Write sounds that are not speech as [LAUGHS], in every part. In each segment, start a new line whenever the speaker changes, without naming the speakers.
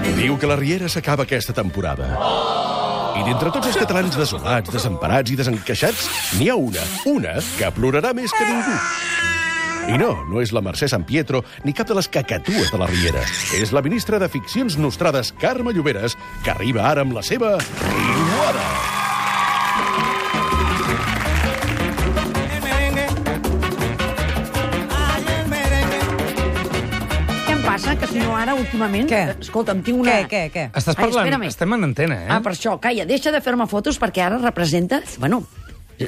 Diu que la Riera s'acaba aquesta temporada. I d'entre tots els catalans desolats, desemparats i desencaixats, n'hi ha una, una, que plorarà més que ningú. I no, no és la Mercè San Pietro ni cap de les cacatues de la Riera. És la ministra de Ficcions Nostrades, Carme Lloberes, que arriba ara amb la seva Riuada.
El merengue. Ay, el merengue.
Què em passa? Que si no ara, últimament...
Què?
Escolta'm, tinc una...
Què, què, què?
Estàs
Ai,
parlant...
espéra'm.
Estem en antena, eh?
Ah, per això, calla, deixa de fer-me fotos perquè ara representa... Bueno,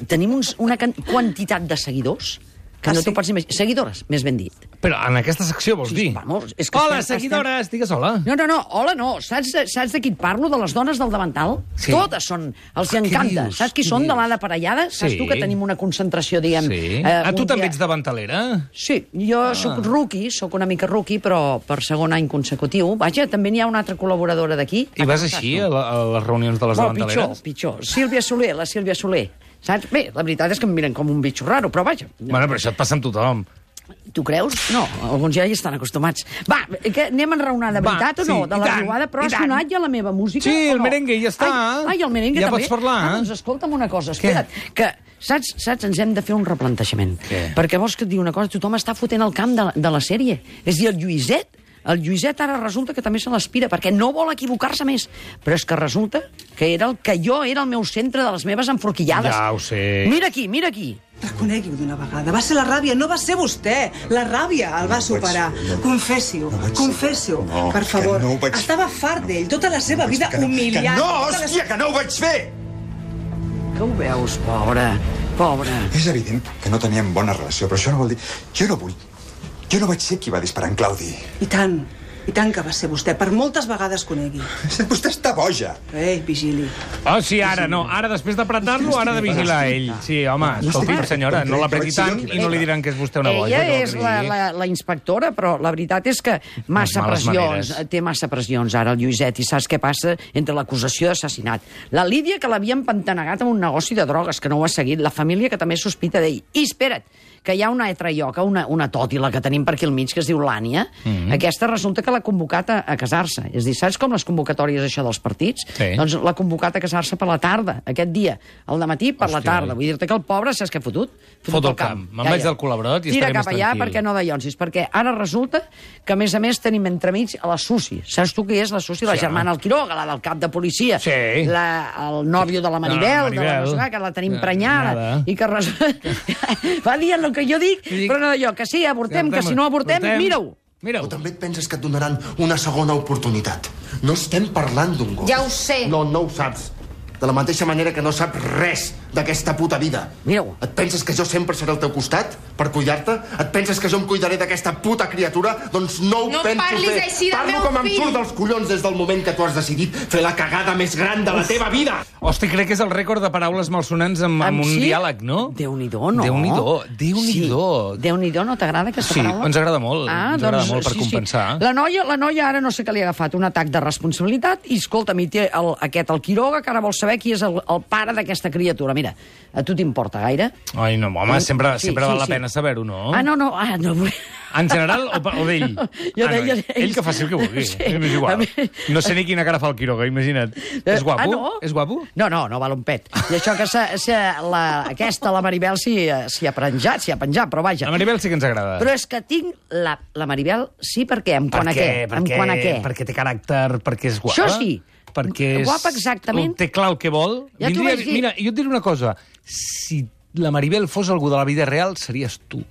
tenim uns, una can... quantitat de seguidors que
Ah,
no
sí?
t'ho pots imaginar. Seguidores, més ben dit.
Però en aquesta secció vols
Sí,
dir?
vamos, és que
hola,
estem-
seguidores! Digues hola.
No, no, no, hola, no. Saps de, saps de qui et parlo? De les dones del davantal?
Sí.
Totes són, els
Ah,
ah,
què
encanta.
dius?
Saps qui
Què
són de
dius?
l'Ada Parellada? Saps
Sí.
tu que tenim una concentració, diguem... eh,
Sí. a
un
tu també
dia-
ets davantalera?
Sí, jo ah. sóc rookie, sóc una mica rookie, però per segon any consecutiu. Vaja, també n'hi ha una altra col·laboradora d'aquí.
I vas així a, la, a les reunions de les
Molt pitjor,
davantaleres?
pitjor. Sílvia Soler, la Sílvia Soler. Saps? Bé, la veritat és que em miren com un bitxo raro, però vaja.
Bueno, però això et passa amb tothom.
Tu creus? No, alguns ja hi estan acostumats. Va, que anem a enraonar de
Va,
veritat o
sí,
no? de
i
la
tant,
riuada, però
i
ha
tant.
sonat ja la meva música
Sí,
o
el
no?
merengue ja està.
Ai, ai, el merengue
Ja
també.
pots parlar,
Ah,
eh?
doncs escolta'm una cosa,
Què?
espera't, que Saps, saps, ens hem de fer un replantejament.
Què?
Perquè vols que et digui una cosa, tothom està fotent el camp de la, de la sèrie. És a dir, el Lluïset, el Lluïset ara resulta que també se l'aspira, perquè no vol equivocar-se més. Però és que resulta que era el que jo era el meu centre de les meves enforquillades.
Ja ho sé.
Mira aquí, mira aquí.
Reconegui-ho d'una vegada. Va ser la ràbia, no va ser vostè. La ràbia el va superar. Confessi-ho, confessi-ho,
No,
per
que
favor.
no ho vaig-
Estava fart d'ell, tota la seva vida
Que no-
humiliant.
Que no,
tota la
hòstia, que no ho vaig fer!
Que ho veus, pobre, pobre.
És evident que no teníem bona relació, però això no vol dir... Jo no vull... Jo no vaig ser qui va disparar en Claudi.
I tant, i tant que va ser vostè, per moltes vegades conegui.
Vostè està boja.
Ei, vigili.
Oh, sí, ara no. Ara, després d'apretar-lo, ara de vigilar ell. Sí, home, escolti, senyora, no l'apreti tant i no li diran que és vostè una boja.
Ella
no
és
cregui.
la, la, la inspectora, però la veritat és que massa
males
pressions, eh,
maneres.
té massa pressions ara el Lluïset, i saps què passa entre l'acusació d'assassinat. La Lídia, que l'havia empantanegat amb un negoci de drogues, que no ho ha seguit, la família que també sospita d'ell. I espera't, que hi ha una altra lloca, una, una tòtila que tenim per aquí al mig, que es diu l'Ània,
Mhm.
mm -hmm. aquesta resulta que l'ha convocat a, a casar-se. És a dir, saps com les convocatòries això dels partits?
Sí.
Doncs l'ha convocat a casar-se per la tarda, aquest dia. Al matí per la
Hòstia.
tarda. Vull dir-te que el pobre, saps què ha fotut?
Fot
Fotut
el camp. Me'n vaig
Calla.
del col·laborat i
Tira
estaré
cap
més
allà
tranquil.
perquè no dallonsis, perquè ara resulta que, a més a més, tenim entremig a la Susi. Saps tu qui és la Susi? La
Sí.
germana del Quiroga, la del cap de policia,
Sí.
la, el nòvio de la Maribel,
Ah,
de la
Maribel.
no sé què, que la tenim
Eh,
prenyada,
nada.
i que resulta... [LAUGHS] Va dir el que jo dic,
Dic-
però no d'allò, que sí, avortem, que si no avortem, mira-ho.
O
Mira-ho.
també et penses que et donaran una segona oportunitat. No estem parlant d'un gos.
Ja ho sé.
No, no ho saps. De la mateixa manera que no saps res d'aquesta puta vida.
Mira-ho.
Et penses que jo sempre seré al teu costat per cuidar-te? Et penses que jo em cuidaré d'aquesta puta criatura? Doncs no ho
No
penso
parlis
fer.
així del
Parlo
meu
com em
fill.
surt dels collons des del moment que tu has decidit fer la cagada més gran de la teva vida.
Hosti, crec que és el rècord de paraules malsonants amb, amb un
sí?
diàleg, no?
Déu-n'hi-do, no?
Déu-n'hi-do, Déu-n'hi-do.
Sí. Déu-n'hi-do, no t'agrada aquesta
Sí,
paraula? Ah, doncs,
ens agrada molt, ens agrada molt per compensar.
La noia, la noia ara no sé què li ha agafat, un atac de responsabilitat, i escolta'm, i té el, aquest, el Quiroga, que ara vol saber qui és el, el pare d'aquesta criatura. Mira, a tu t'importa gaire?
Ai, no, home, sempre,
Sí,
sempre
sí,
val la
sí.
pena saber-ho, no?
Ah, no, no, ah, no.
En general o, pa- o d'ell?
Jo
ah, no,
deia
ell,
d'ell.
ell que faci el que vulgui.
Sí.
Sí. És
A
igual.
mi-
No sé ni quina cara fa el Quiroga, imagina't.
Eh,
És guapo?
Ah, no?
És guapo?
No, no, no val un pet. I això que s'ha- s'ha- la, aquesta, la Maribel, s'hi eh, s'hi ha penjat, s'hi ha penjat, però vaja.
La Maribel sí que ens agrada.
Però és que tinc la, la Maribel, sí, per què? En quant a què? En
Perquè,
quant a què?
perquè té caràcter, perquè és guapa.
Això sí.
Perquè és...
Guapa, exactament.
Té clar el que vol.
Ja t'ho
Vindria-
vaig dir.
Mira, jo et diré una cosa. Si la Maribel fos algú de la vida real, series tu.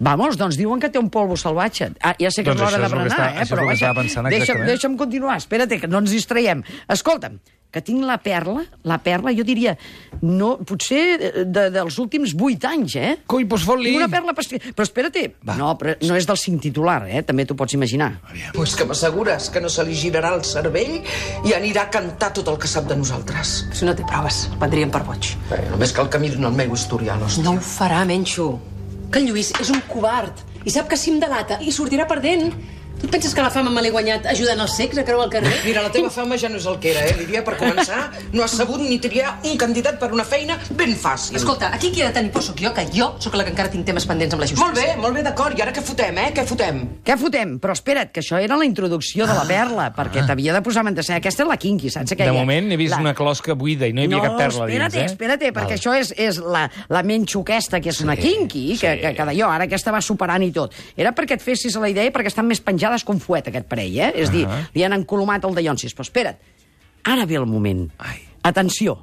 Vamos, doncs diuen que té un polvo salvatge. Ah, ja sé que
Doncs
és l'hora
això
de
és el que
berenar,
està-
eh?
això és el que estava pensant
deixa'm,
exactament.
deixa'm continuar, espera't, que no ens distraiem. Escolta'm, que tinc la perla, la perla, jo diria, no, potser de, de, dels últims vuit anys, eh?
Coi, doncs fot-li.
Tinc una perla... Passi... Però espera't,
Va.
no, però no és del cinc titular, eh? També t'ho pots imaginar.
Pues que m'assegures que no se li girarà el cervell i anirà a cantar tot el que sap de nosaltres.
Si no té proves, el prendríem per boig.
Bé, només cal que mirin el meu historial, hòstia.
No ho farà, Menxo. Que en Lluís és un covard i sap que si em delata i sortirà perdent.
Tu et penses que la fama me l'he guanyat ajudant els secs a creuar el carrer?
Mira, la teva fama ja no és el que era, eh, Lídia? Per començar, no has sabut ni triar un candidat per una feina ben fàcil.
Escolta, aquí qui ha de tenir por sóc jo, que jo sóc la que encara tinc temes pendents amb la justícia.
Molt bé, molt bé, d'acord. I ara què fotem, eh? Què fotem?
Què fotem? Però espera't, que això era la introducció de la perla, perquè t'havia de posar en escena. Aquesta és la quinqui, saps? Aquella,
Ah. De moment he vist
la...
una closca buida i no hi havia cap perla
espérate,
dins, eh?
espérate, perquè
Val.
això és, és la, la menxo aquesta, que és una quinqui, que, que, que d'allò, ara aquesta va superant i tot. Era perquè et fessis la idea i perquè estan més penjades com fuet, aquest parell, eh? És a dir,
Ah.
li han encolomat el de Llonsis. Però espera't, ara ve el moment.
Ai.
Atenció.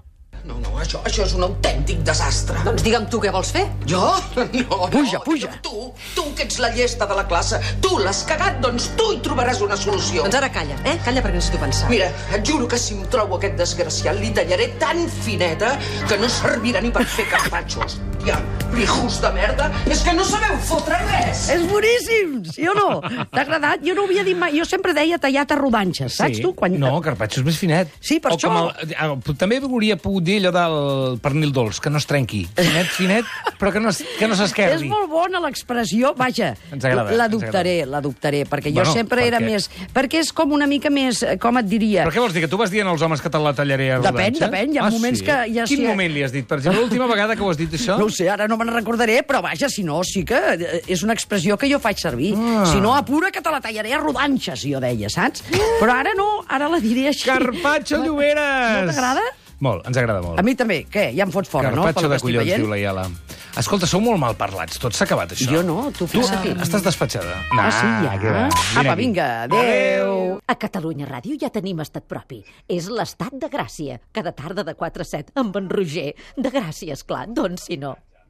No, no, això, això és un autèntic desastre.
Doncs digue'm tu què vols fer.
Jo? No,
Puja,
no.
puja.
Tu, tu que ets la llesta de la classe, tu l'has cagat, doncs tu hi trobaràs una solució.
Doncs ara calla, eh? Calla perquè necessito pensar.
Mira, et juro que si em trobo aquest desgraciat li tallaré tan fineta que no servirà ni per fer carpatxos. Ja, pijos de merda, és que no sabeu fotre res!
És boníssim, sí o no? T'ha agradat? Jo no ho havia dit mai. Jo sempre deia tallat a rodanxes, saps tu? Quan...
No, carpaccio és més finet.
Sí, per
o com
això.
El, ah, també hauria pogut dir allò del pernil dolç, que no es trenqui. Finet, finet, però que no, es- que no
[LAUGHS] És
s'esquerdi.
molt bona l'expressió, vaja,
Ens agrada,
l'adoptaré, l'adoptaré, perquè jo
Bueno,
sempre era
perquè-
més... Perquè és com una mica més, eh, com et diria...
Però què vols dir? Que tu vas dient als homes que te la tallaré a
Depèn,
rodanxa?
depèn, hi ha moments
sí?
que ja
Quin
sí. eh?
moment li has dit? Per exemple, l'última vegada que ho has dit, això?
No ho sé, ara no me'n recordaré, però vaja, si no, sí que eh, és una expressió que jo faig servir.
Ah.
Si no, apura que te la tallaré a rodanxes, jo deia, saps? Però ara no, ara la diré així.
Carpaccio Lloberes!
No t'agrada?
Molt, ens agrada molt.
A mi també. Què, ja em fots fora, no?
Carpaccio de collons, diu la Iala. Escolta, sou molt mal parlats. Tot s'ha acabat, això.
Jo no, tu
Tu
fes aquí.
estàs despatxada.
Ah, sí, ja.
què va. Vine
Apa,
aquí.
vinga, adéu.
A Catalunya Ràdio ja tenim estat propi. És l'estat de Gràcia. Cada tarda de 4 a 7 amb en Roger. De Gràcia, esclar, doncs si no.